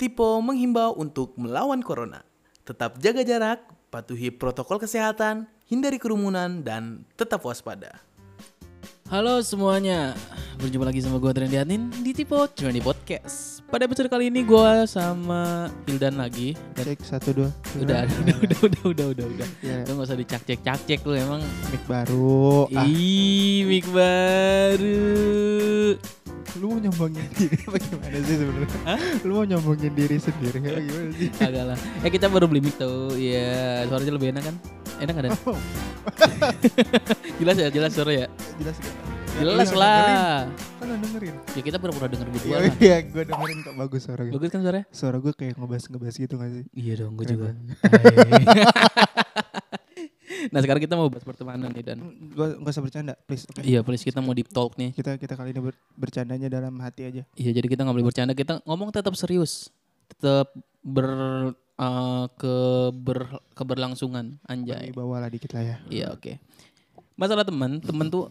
Tipo menghimbau untuk melawan corona. Tetap jaga jarak, patuhi protokol kesehatan, hindari kerumunan, dan tetap waspada. Halo semuanya, berjumpa lagi sama gue Trendy Adnin di Tipo Trendy Podcast. Pada episode kali ini gue sama Hildan lagi. Dan Cek satu dua. udah, udah, udah, udah, udah, udah, udah. Ya, Lu gak usah dicak-cek-cak-cek lu emang. mic baru. Ah, Ih, mic baru. lu mau nyombongin diri apa gimana sih sebenarnya? Hah? Lu mau nyombongin diri sendiri apa gimana sih? Kagak lah. Eh kita baru beli mic tuh. Iya, suaranya lebih enak kan? Enak gak Dan? Oh, Jelas ya, jelas suara ya. jelas gak? Jelas lah. Kan lu iya, dengerin. Ya kita pura-pura denger Iya, berdua lah. iya, gue dengerin kok bagus suara gue. Bagus kan suaranya? Suara gue kayak ngebas-ngebas gitu gak sih? Iya dong, gue Keren juga. Hai. nah sekarang kita mau bahas pertemanan nih Dan. Gue gak usah bercanda, please. oke? Iya, please kita mau deep talk nih. Kita kita kali ini ber- bercandanya dalam hati aja. Iya, jadi kita nggak boleh bercanda. Kita ngomong tetap serius, tetap ber eh, ke ber- keberlangsungan Di anjay. bawah lah dikit lah ya. Iya, oke. Masalah teman, teman tuh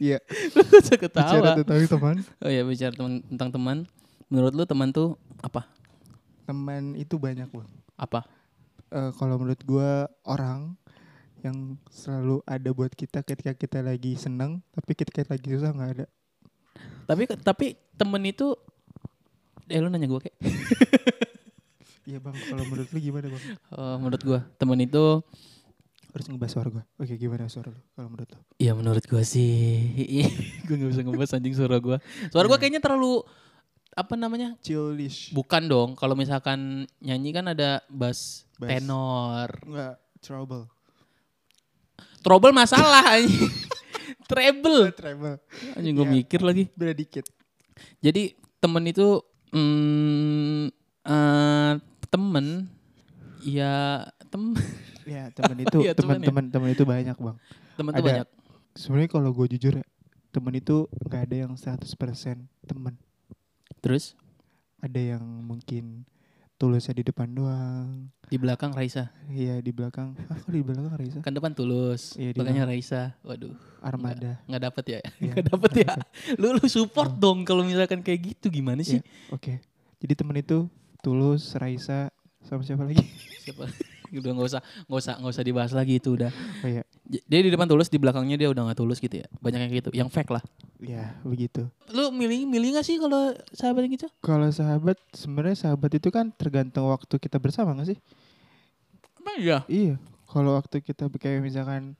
Iya. Lu nggak usah Bicara ketawa. tentang teman. Oh iya, bicara teman tentang teman. Menurut lu teman tuh apa? Teman itu banyak loh. Apa? Eh, kalau menurut gue orang yang selalu ada buat kita ketika kita lagi seneng tapi ketika lagi susah nggak ada Tapi tapi temen itu eh lu nanya gue kayak iya bang kalau menurut lu gimana bang Eh, menurut gua temen itu harus ngebahas suara gue oke gimana suara lu kalau menurut lu Ya menurut gua sih Gue gak bisa ngebahas anjing suara gua Suara gua kayaknya terlalu Apa namanya chillish Bukan dong Kalau misalkan nyanyi kan ada bass, Bass. tenor nggak trouble Trouble masalah anjing Treble trouble Anjing gua Iya. mikir lagi beda dikit Jadi temen itu mm, eh, Temen Ya temen ya teman itu Iya, teman teman ya. teman teman itu banyak bang Temen tuh Ada. banyak sebenarnya kalau gue jujur ya teman itu nggak ada yang 100% teman Terus ada yang mungkin tulusnya di depan doang di belakang Raisa Iya di belakang ah kok di belakang Raisa Kan depan tulus Iya, di Belakangnya Raisa Waduh Armada nggak dapet ya Iya. nggak dapet ya lu lu support dong kalau misalkan kayak gitu gimana sih Oke. Jadi temen itu Tulus, Raisa, sama siapa lagi? siapa udah nggak usah nggak usah nggak usah dibahas lagi itu udah Oh iya. J- dia di depan tulus di belakangnya dia udah nggak tulus gitu ya banyak yang gitu yang fake lah Ya, begitu. lu milih milih nggak sih kalau sahabat yang gitu Kalau sahabat, sebenarnya sahabat itu kan tergantung waktu kita bersama gak sih? emang iya Iya. Kalau waktu kita kayak misalkan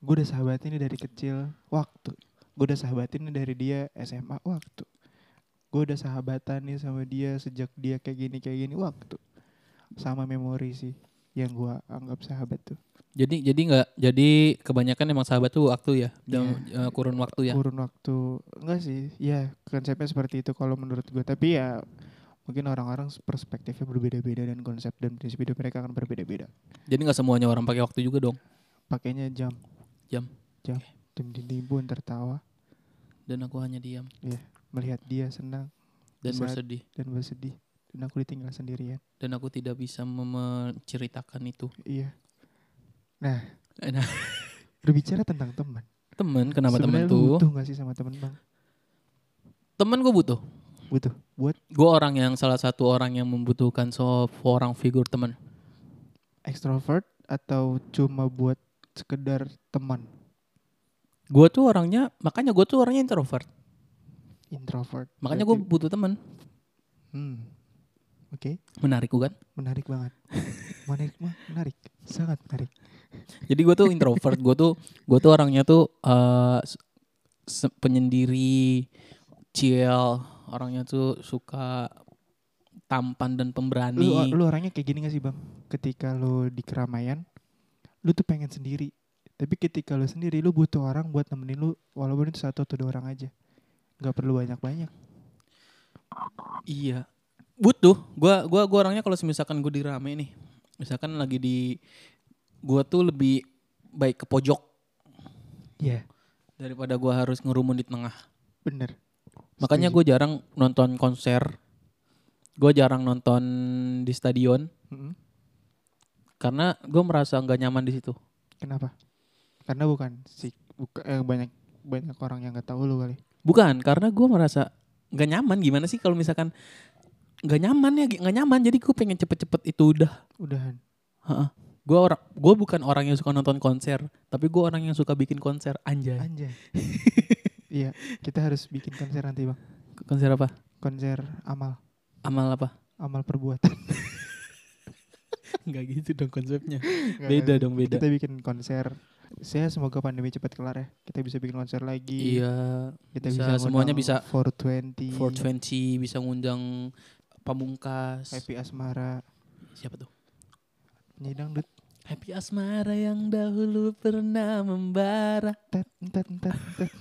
gue udah sahabat ini dari kecil, waktu. Gue udah sahabat ini dari dia SMA, waktu. Gue udah sahabatan nih sama dia sejak dia kayak gini kayak gini, waktu. Sama memori sih yang gue anggap sahabat tuh. jadi jadi nggak jadi kebanyakan emang sahabat tuh waktu ya dalam eh, kurun waktu ya kurun waktu enggak sih ya konsepnya seperti itu kalau menurut gue tapi ya mungkin orang-orang perspektifnya berbeda-beda dan konsep dan prinsip hidup mereka akan berbeda-beda jadi nggak semuanya orang pakai waktu juga dong pakainya jam Jam. jam jam ditimbun tertawa dan aku hanya diam melihat dia senang dan Di saat- bersedih dan bersedih dan aku ditinggal sendirian dan aku tidak bisa mem- menceritakan itu iya Eh, nah berbicara tentang teman temen kenapa temen Sebenarnya lu tuh butuh nggak sih sama teman bang temen gue butuh butuh buat Gue orang yang salah satu orang yang membutuhkan seorang figur teman. extrovert atau cuma buat sekedar teman Gue tuh orangnya, makanya gue tuh orangnya introvert. introvert Makanya gue Berarti- butuh teman. hmm. oke Menarik bukan? menarik banget menarik mah menarik sangat menarik Jadi gue tuh introvert. Gue tuh gue tuh orangnya tuh eh, se- penyendiri, chill. Orangnya tuh suka tampan dan lu, pemberani. lu orangnya kayak gini gak sih bang ketika lu di keramaian lu tuh pengen sendiri tapi ketika lu sendiri lu butuh orang buat nemenin lu walaupun itu satu atau dua orang aja nggak perlu banyak banyak Iya. Butuh. Gua gua gua orangnya kalau misalkan gue dirame nih. Misalkan lagi di gua tuh lebih baik ke pojok Iya daripada gua harus ngerumun di tengah. bener Makanya gue jarang nonton konser. Gue jarang nonton di stadion Mm-mm. karena gue merasa nggak nyaman di situ. kenapa karena bukan si buka, eh, banyak banyak orang yang nggak tahu lu kali Bukan karena gue merasa nggak nyaman. Gimana sih kalau misalkan nggak nyaman ya nggak nyaman jadi gue pengen cepet-cepet itu udah udahan gue orang gue bukan orang yang suka nonton konser tapi gue orang yang suka bikin konser anjay anjay iya kita harus bikin konser nanti bang konser apa konser amal amal apa amal perbuatan nggak gitu dong konsepnya beda dong beda kita bikin konser saya semoga pandemi cepat kelar ya kita bisa bikin konser lagi iya kita bisa, ngundang semuanya bisa. Iya. 420 420 bisa ngundang pamungkas Happy Asmara siapa tuh nyidang dut Happy asmara yang dahulu pernah membara. tet tet tet tet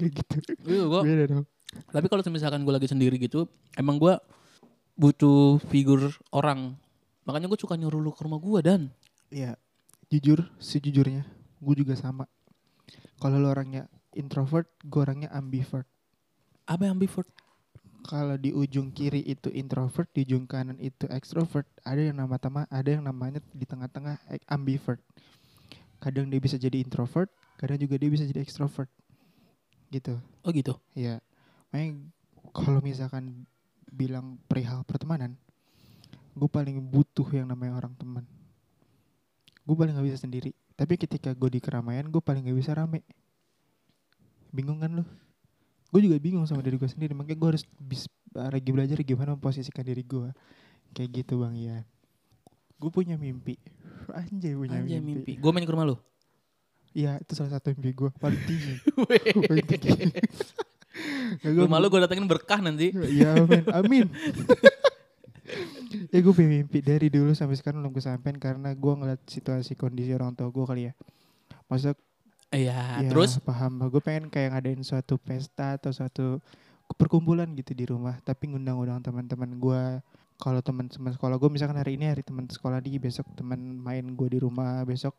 Kayak gitu Iya, gua- beda dong tapi kalau misalkan gue lagi sendiri gitu, emang gue butuh figur orang. Makanya gue suka nyuruh lu ke rumah gue dan ya jujur sejujurnya gue juga sama kalau lo orangnya introvert gue orangnya ambivert apa yang ambivert? kalau di ujung kiri itu introvert di ujung kanan itu extrovert ada yang nama tama ada yang namanya di tengah-tengah eh, ambivert kadang dia bisa jadi introvert kadang juga dia bisa jadi extrovert gitu Oh gitu. ya makanya kalau misalkan bilang perihal pertemanan gue paling butuh yang namanya orang teman gue paling gak bisa sendiri tapi ketika gue di keramaian gue paling gak bisa rame bingung kan lo gue juga bingung sama diri gue sendiri makanya gue harus bis, lagi belajar gimana memposisikan diri gue kayak gitu bang ya gue punya mimpi anjay punya Anjay mimpi. mimpi. Gue main ke rumah lu. Iya itu salah satu mimpi gue paling tinggi paling tinggi Nah, gua rumah lu gue datengin berkah nanti. Ya amin, amin. ya gue punya mimpi dari dulu sampai sekarang belum kesampaian karena gue ngeliat situasi kondisi orang tua gue kali ya. Maksudnya Iya. ya, Terus paham. Gue pengen kayak ngadain suatu pesta atau suatu perkumpulan gitu di rumah. Tapi ngundang-undang teman-teman gue. Kalau teman-teman sekolah gue misalkan hari ini hari teman sekolah di besok teman main gue di rumah besok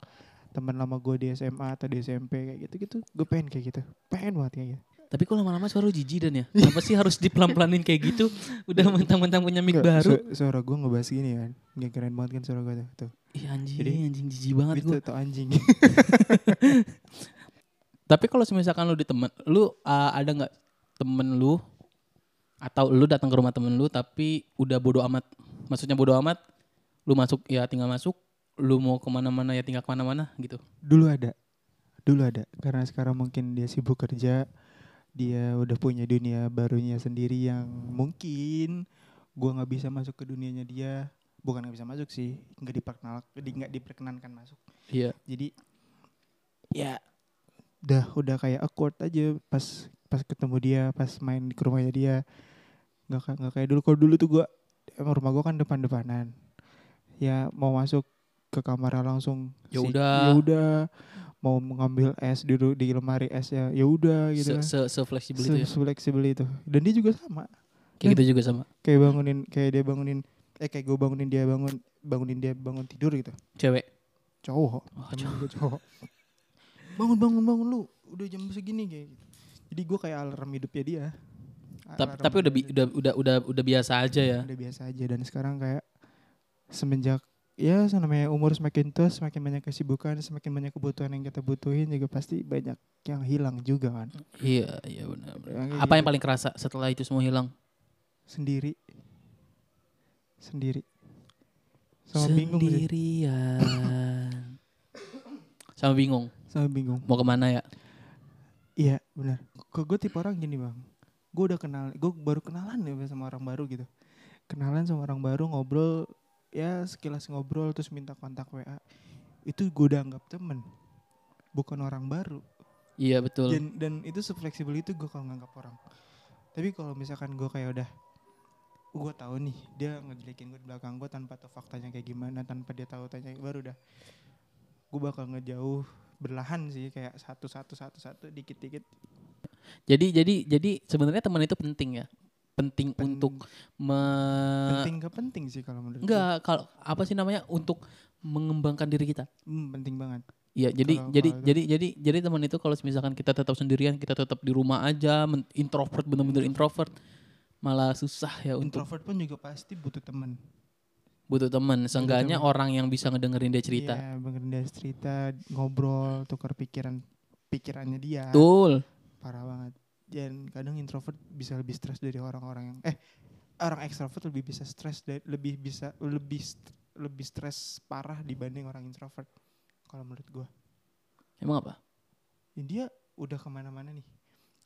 teman lama gue di SMA atau di SMP kayak gitu-gitu. Gue pengen kayak gitu. Pengen banget kayak gitu. tapi kok lama-lama suara lu jijik dan ya. Kenapa sih harus dipelan-pelanin kayak gitu? Udah mentang-mentang punya mic Nggak, baru. su- Suara gue ngebahas gini kan. Gak keren banget kan suara gue tuh. tuh. Ih anjing, Jadi- anjing jijik banget Itu gue. Gitu tuh anjing. Tapi kalau misalkan lu di temen, lu uh, ada nggak temen lu atau lu datang ke rumah temen lu tapi udah bodo amat. Maksudnya bodo amat, lu masuk ya tinggal masuk, lu mau kemana-mana ya tinggal kemana-mana gitu. Dulu ada. Dulu ada. Karena sekarang mungkin dia sibuk kerja. Dia udah punya dunia barunya sendiri yang mungkin gua nggak bisa masuk ke dunianya dia. Bukan nggak bisa masuk sih. Nggak diperkenal, di- nggak diperkenankan masuk. Iya. Jadi ya udah udah kayak awkward aja pas pas ketemu dia, pas main ke rumahnya dia. Nggak ka- nggak kayak dulu. Kalau dulu tuh gua emang rumah gua kan depan-depanan. Ya mau masuk ke kamarnya langsung Ya si- udah. ya udah mau mengambil es di ru- di lemari es ya ya udah gitu kan. Se se fleksibel itu ya. Fleksibel itu. Dan dia juga sama. eh. Kayak gitu juga sama Kayak bangunin kayak dia bangunin eh kayak gue bangunin dia bangun bangunin dia bangun tidur gitu. cewek. Cowok. temen gue cowok. Bangun bangun bangun lu. Udah jam segini kayak gitu. Jadi gue kayak alarm hidupnya dia. Tapi Alarm tapi udah bi- hidupnya udah udah udah udah biasa aja ya. dia. udah biasa aja dan sekarang kayak semenjak ya namanya umur semakin tua semakin banyak kesibukan semakin banyak kebutuhan yang kita butuhin juga pasti banyak yang hilang juga kan Iya, iya benar. benar. Ya, kayak Apa yang gitu. paling kerasa setelah itu semua hilang? sendiri sendiri sama bingung sih Sendirian. sama bingung. sama bingung Mau kemana ya? iya benar kok gue tipe orang gini bang gue udah kenal gue baru kenalan ya sama orang baru gitu kenalan sama orang baru ngobrol ya sekilas ngobrol terus minta kontak wa itu gue udah anggap temen bukan orang baru Iya betul. dan dan itu sefleksibel itu gue kalau nganggap orang tapi kalau misalkan gue kayak udah gue tahu nih dia ngejelekin gue di belakang gue tanpa tahu faktanya kayak gimana tanpa dia tahu tanya baru udah gue bakal ngejauh berlahan sih kayak satu satu satu satu dikit dikit Jadi jadi jadi sebenarnya teman itu penting ya. Penting untuk me penting gak penting sih kalau menurut gue. enggak kalau apa sih namanya untuk mengembangkan diri kita. Hmm, penting banget Iya, jadi Kalau- jadi kalau itu- jadi jadi jadi teman itu kalau misalkan kita tetap sendirian, kita tetap di rumah aja, men- introvert bener-bener introvert, malah susah ya untuk introvert pun juga pasti butuh temen butuh teman. Seenggaknya teman. orang yang bisa ngedengerin dia cerita. Iya, dengerin dia cerita ngobrol tukar pikiran pikirannya dia Betul. parah banget dan kadang introvert bisa lebih stres dari orang-orang yang eh orang ekstrovert lebih bisa stres dan lebih bisa lebih st- lebih stres parah dibanding orang introvert kalau menurut gua Emang apa? Dan dia udah kemana-mana nih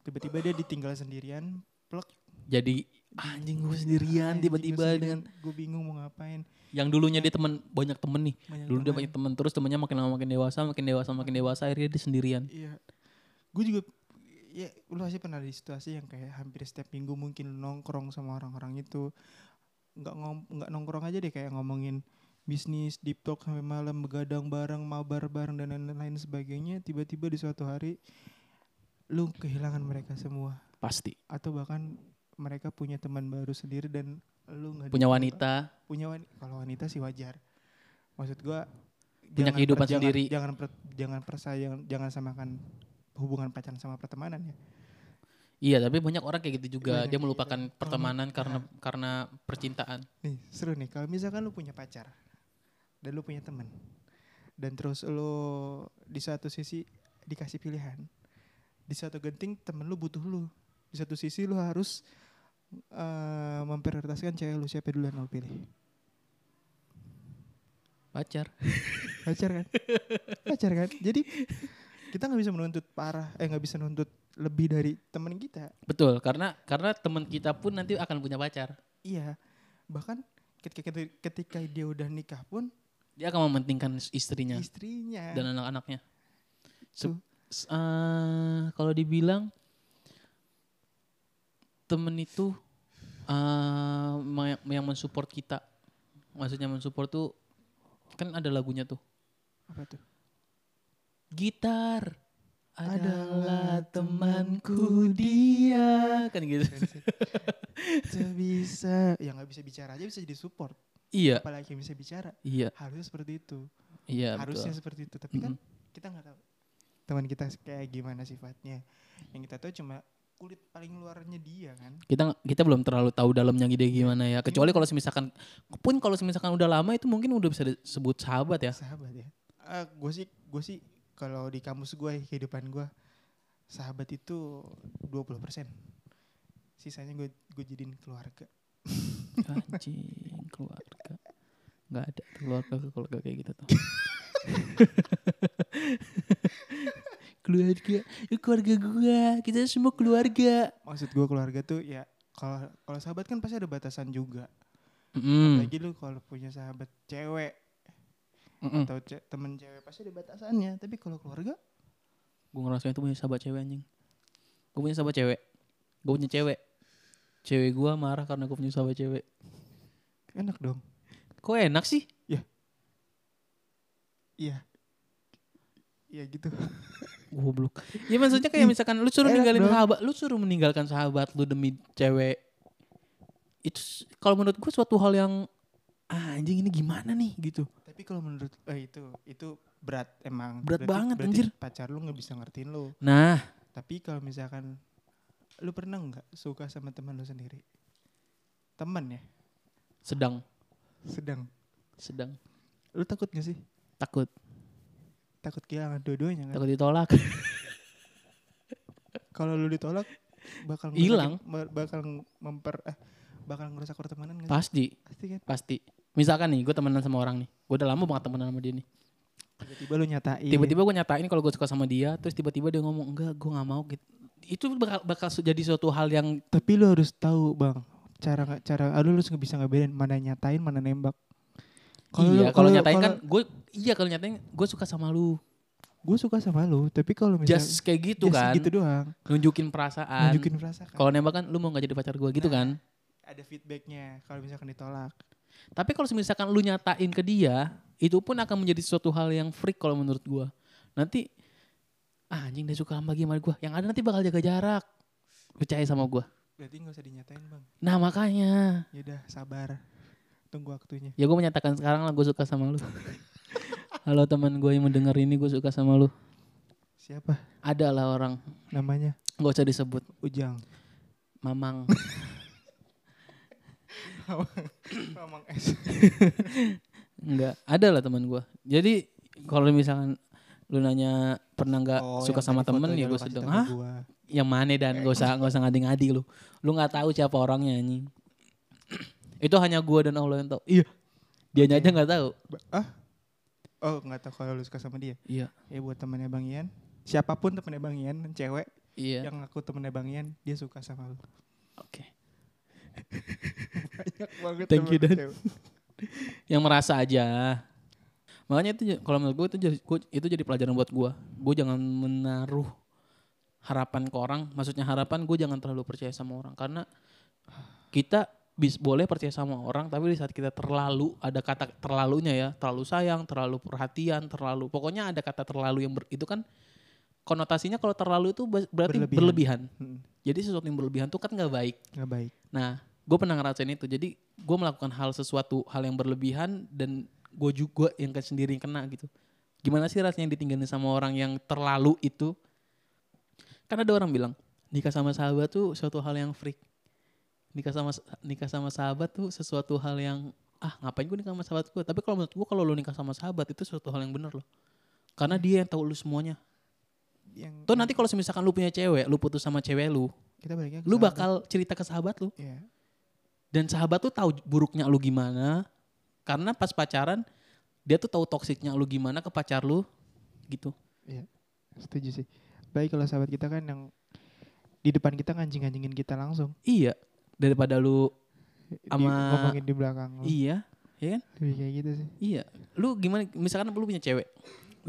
tiba-tiba dia ditinggal sendirian plek Jadi anjing gue sendirian tiba-tiba dengan gue bingung mau ngapain yang dulunya dia teman banyak temen nih. banyak Dulu dia teman. banyak temen terus temennya makin lama makin dewasa, makin dewasa makin dewasa akhirnya dia sendirian. Iya. Gue juga ya lu pasti pernah di situasi yang kayak hampir setiap minggu mungkin lu nongkrong sama orang-orang itu. Nggak ngom nggak nongkrong aja deh kayak ngomongin bisnis, deep talk sampai malam begadang bareng, mabar bareng dan lain-lain sebagainya. Tiba-tiba di suatu hari lu kehilangan mereka semua Pasti. atau bahkan mereka punya teman baru sendiri dan lu nggak Punya di- wanita, punya wanita kalau wanita sih wajar maksud gua Punya jangan kehidupan per- jangan- sendiri. jangan per- jangan percaya jangan, jangan samakan hubungan pacaran sama pertemanan ya Iya, tapi banyak orang kayak gitu juga. Banyak dia kayak melupakan gitu. pertemanan karena karena percintaan. nih seru nih kalau misalkan lu punya pacar dan lu punya teman dan terus lu di satu sisi dikasih pilihan di satu genting temen lu butuh lu di satu sisi lu harus eh, memprioritaskan cewek lu siapa duluan lu pilih Pacar. pacar kan pacar kan jadi kita nggak bisa menuntut parah eh nggak bisa menuntut lebih dari teman kita Betul, karena karena teman kita pun nanti akan punya pacar. iya bahkan ketika ketika dia udah nikah pun Dia akan mementingkan istrinya istrinya dan anak-anaknya. Tuh. S- eh, kalau dibilang temen itu eh, ma- yang mensupport kita. Maksudnya mensupport tuh kan ada lagunya tuh. apa tuh Gitar Adalah adalah temanku dia kan gitu. Gak bisa ya nggak bisa bicara aja bisa jadi support Iya, apalagi yang bisa bicara iya, harusnya seperti itu iya harusnya betul. seperti itu tapi kan kita nggak tahu teman kita kayak gimana sifatnya yang kita tahu cuma kulit paling luarnya dia kan Kita nggak- kita belum terlalu tahu dalamnya gede gimana ya. Kecuali kalau misalkan pun kalau misalkan udah lama itu mungkin udah bisa disebut sahabat ya. sahabat ya gue sih gue sih kalau di kampus gue kehidupan gue sahabat itu 20% sisanya gue gue jadiin keluarga Anjing, keluarga. Enggak ada tuh keluarga keluarga kayak gitu tuh. keluarga, ya keluarga gua. Kita semua keluarga. maksud gue keluarga tuh ya kalau kalau sahabat kan pasti ada batasan juga Mm-mm. lagi lu kalau punya sahabat cewek Mm-mm. atau ce- temen cewek pasti ada batasannya tapi kalau keluarga Gue ngerasain itu punya sahabat cewek anjing. Gue punya sahabat cewek. Gue punya cewek. Cewek gue marah karena gue punya sahabat cewek. enak dong Kok enak sih? iya iya gitu Goblok. Ya maksudnya kayak misalkan lu suruh Enak ninggalin dong. sahabat, lu suruh meninggalkan sahabat lu demi cewek. Itu s- kalau menurut gue suatu hal yang "Ah, anjing ini gimana nih gitu. tapi kalau menurut eh, itu itu berat emang Berat Berarti- banget, berarti anjir. pacar lu nggak bisa ngertiin lu Nah, Tapi kalau misalkan lu pernah nggak suka sama teman lu sendiri? Teman ya, sedang sedang. sedang Lu takut gak sih? takut Takut kehilangan dua-duanya kan? takut ditolak. Kalau lu ditolak bakal ngerusak- Hilang. mer- bakal memper eh bakal ngerusak pertemanan gak sih? pasti, Pasti kan? pasti. Misalkan nih gue temenan sama orang nih. Gue udah lama banget temenan sama dia nih. Tiba-tiba lu nyatain. tiba-tiba gue nyatain kalau gue suka sama dia terus tiba-tiba dia ngomong enggak gue nggak mau gitu itu bakal, bakal su- jadi suatu hal yang Tapi lu harus tahu, Bang. Cara nggak- cara aduh lu nggak bisa ngebedain mana nyatain, mana nembak. iya lu- kalau nyatain kan kalau- gue iya kalau nyatain gue suka sama lu gue suka sama lu, tapi kalau misalnya just kayak gitu Iya. just kan gitu doang, nunjukin perasaan nunjukin Nah. perasaan. kalau nembak kan lu mau nggak jadi pacar gue gitu kan ada feedbacknya kalau misalkan ditolak. tapi kalau misalkan lu nyatain ke dia itu pun akan menjadi suatu hal yang freak kalau menurut gue nanti ah, anjing dia suka sama gimana gue yang ada nanti bakal jaga jarak percaya sama gue Berarti nggak usah dinyatain bang. nah makanya Yaudah sabar, tunggu waktunya. Ya gue menyatakan sekarang lah gue suka sama lu. Halo teman gue yang mendengar ini gue suka sama lu. Siapa Ada lah orang namanya? gak usah disebut Ujang. Mamang. Mamang S. Enggak, ada lah teman gue. Jadi kalau misalkan lu nanya pernah nggak Oh, suka sama temen ya gue sedang Hah? yang mana dan gak usah gak usah ngadi-ngadi lu. Lu nggak tahu siapa orangnya anjing. Itu hanya gua dan Allah yang tahu. Iya. Dianya aja nggak tahu. Ba- ah oh nggak tahu kalau lu suka sama dia Iya. ya buat temennya bang Ian siapapun temennya bang Ian cewek Iya. yang aku temennya bang Ian dia suka sama lu Oke. banyak banget Thank you, temen Dan. cewek. Yang merasa aja. Makanya itu j- kalau menurut gue itu jadi gua- itu jadi pelajaran buat gue. Gue jangan menaruh harapan ke orang. Maksudnya harapan gue jangan terlalu percaya sama orang karena kita bis boleh percaya sama orang tapi di saat kita terlalu ada kata terlalunya ya terlalu sayang terlalu perhatian terlalu pokoknya ada kata terlalu yang ber- itu kan konotasinya kalau terlalu itu ba- berarti Berlebihan. berlebihan. Mm, jadi sesuatu yang berlebihan tuh kan nggak baik nggak baik Nah, gue pernah ngerasain itu. Jadi gue melakukan hal sesuatu hal yang berlebihan dan gue juga yang ke- sendiri yang kena gitu. Gimana sih rasanya ditinggalin sama orang yang terlalu itu? Kan ada orang bilang nikah sama sahabat tuh suatu hal yang freak. Nikah sama nikah sama sahabat tuh sesuatu hal yang ah ngapain gue nikah sama sahabat gue? Tapi kalau menurut gue kalau lu nikah sama sahabat itu suatu hal yang bener loh. Karena dia yang tahu lu semuanya. yang Tuh nanti kalau misalkan lu punya cewek, lu putus sama cewek lu, kita baliknya ke lu sahabat. bakal cerita ke sahabat lu Iya. dan sahabat tuh tahu buruknya lu gimana karena pas pacaran dia tuh tahu toksiknya lu gimana ke pacar lu gitu Setuju sih. Baik kalau sahabat kita kan yang di depan kita ngancing-ngancingin kita langsung. iya daripada lu Di- Ama- ngomongin di belakang. lu. iya ya kan Lebih kayak gitu sih. iya lu gimana misalkan lu punya cewek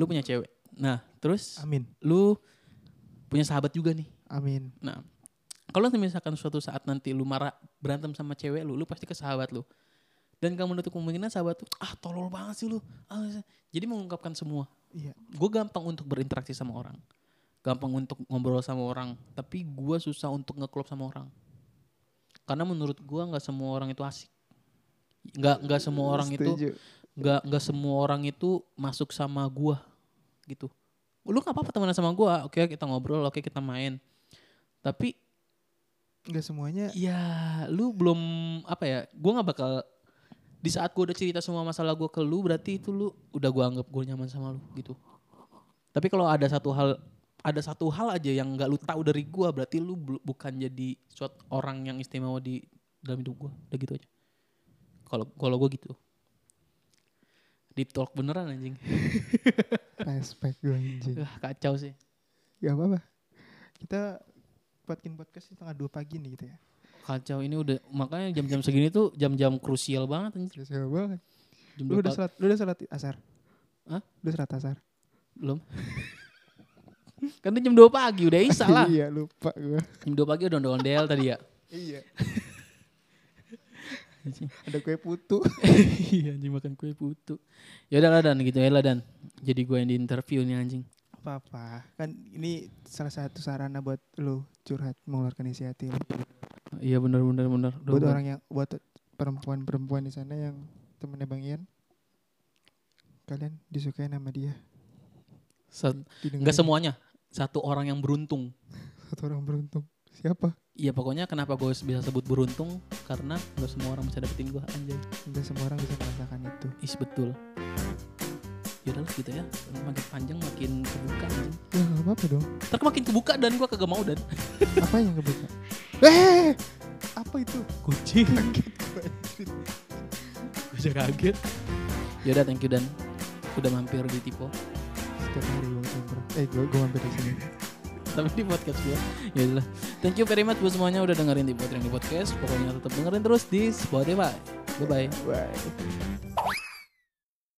lu punya cewek nah terus Amin. lu punya sahabat juga nih Amin. nah kalau misalkan suatu saat nanti lu marah berantem sama cewek lu lu pasti ke sahabat lu dan kamu menutup kemungkinan sahabat tuh ah tolol banget sih lu Ah, jadi mengungkapkan semua Iya. gue gampang untuk berinteraksi sama orang gampang untuk ngobrol sama orang tapi gue susah untuk ngeklop sama orang karena menurut gue nggak semua orang itu asik nggak nggak semua orang itu Setuju. nggak nggak semua orang itu masuk sama gue gitu lu nggak apa-apa temenan sama gue oke kita ngobrol oke kita main tapi Nggak semuanya ya lu belum apa ya gue nggak bakal di saat gue udah cerita semua masalah gue ke lu berarti itu lu udah gue anggap gue nyaman sama lu gitu tapi kalau ada satu hal ada satu hal aja yang nggak lu tahu dari gue berarti lu bel- bukan jadi suatu orang yang istimewa di dalam hidup gue udah gitu aja kalau kalau gue gitu deep talk beneran anjing respect gue anjing. Wah, kacau sih Gak apa-apa. Kita buatkin podcast ini tengah dua pagi nih gitu ya. kacau ini udah makanya jam-jam segini tuh jam-jam krusial banget anjing Terus ya banget. jam Lu dua udah pagi. salat, lu udah salat asar. Hah? Lu salat asar. Belum. kan itu jam 2 pagi, udah isa lah. iya, lupa gue. Jam 2 pagi udah ondel-ondel tadi ya. iya. Ada kue putu. iya anjing makan kue putu. Ya udah lah Dan gitu ya lah Dan. Jadi gue yang di interview nih anjing. apa-apa kan ini salah satu sarana buat lu curhat mengeluarkan isi hati lu Iya benar benar benar. Udah, buat gua- orang yang buat perempuan-perempuan di sana yang temennya bang Ian kalian disukai nama dia Sa- didengar nggak semuanya. Satu orang yang beruntung. satu orang beruntung siapa Iya pokoknya kenapa gue bisa sebut beruntung karena nggak semua orang bisa dapetin gue anjay. nggak semua orang bisa merasakan itu Is betul. Ya udah lah gitu ya. Makin panjang makin kebuka anjing. ya nggak apa-apa dong Ntar makin kebuka dan gue kagak mau Dan. apa yang kebuka eh apa itu kucing gue juga kaget yaudah thank you dan udah mampir di Tipo setiap hari gue nongkrong eh gue gue mampir di sini tapi di podcast gue ya udahlah thank you very much buat semuanya udah dengerin di Potring di podcast pokoknya tetap dengerin terus di Spotify bye bye bye